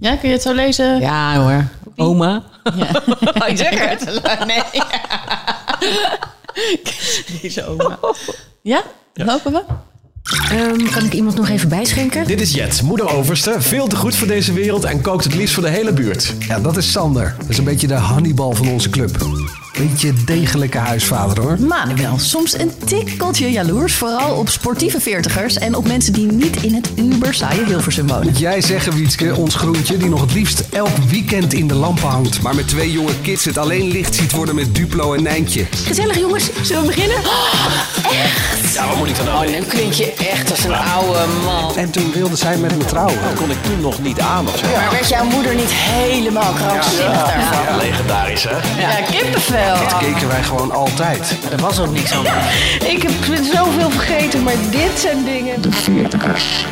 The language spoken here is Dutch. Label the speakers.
Speaker 1: Ja, kun je het zo lezen?
Speaker 2: Ja hoor. Oma.
Speaker 1: Ja.
Speaker 2: Oh, Ik zeg het.
Speaker 1: Nee. Deze oma. Ja? Lopen we?
Speaker 3: Ehm, kan ik iemand nog even bijschenken?
Speaker 4: Dit is Jet, moeder-overste. Veel te goed voor deze wereld en kookt het liefst voor de hele buurt.
Speaker 5: Ja, dat is Sander. Dat is een beetje de Hannibal van onze club. Beetje degelijke huisvader hoor.
Speaker 6: Manuel, soms een tikkeltje jaloers, vooral op sportieve veertigers en op mensen die niet in het uber saaie Hilversum wonen.
Speaker 5: Moet jij zeggen, Wietske, ons groentje die nog het liefst elk weekend in de lampen hangt. Maar met twee jonge kids het alleen licht ziet worden met Duplo en Nijntje.
Speaker 3: Gezellig jongens, zullen we beginnen?
Speaker 4: Ja, wat moet ik dan nou?
Speaker 2: Nu klink je echt als een oude man.
Speaker 5: En toen wilde zij met me trouwen.
Speaker 4: kon ik toen nog niet aan of zo.
Speaker 2: Maar werd jouw moeder niet helemaal krankzinnig daarvan?
Speaker 4: Ja, legendarisch hè?
Speaker 1: Ja, kippenvel.
Speaker 5: Keken wij gewoon altijd.
Speaker 2: Er was ook niks aan.
Speaker 3: Ik heb zoveel vergeten, maar dit zijn dingen.
Speaker 7: De veertigers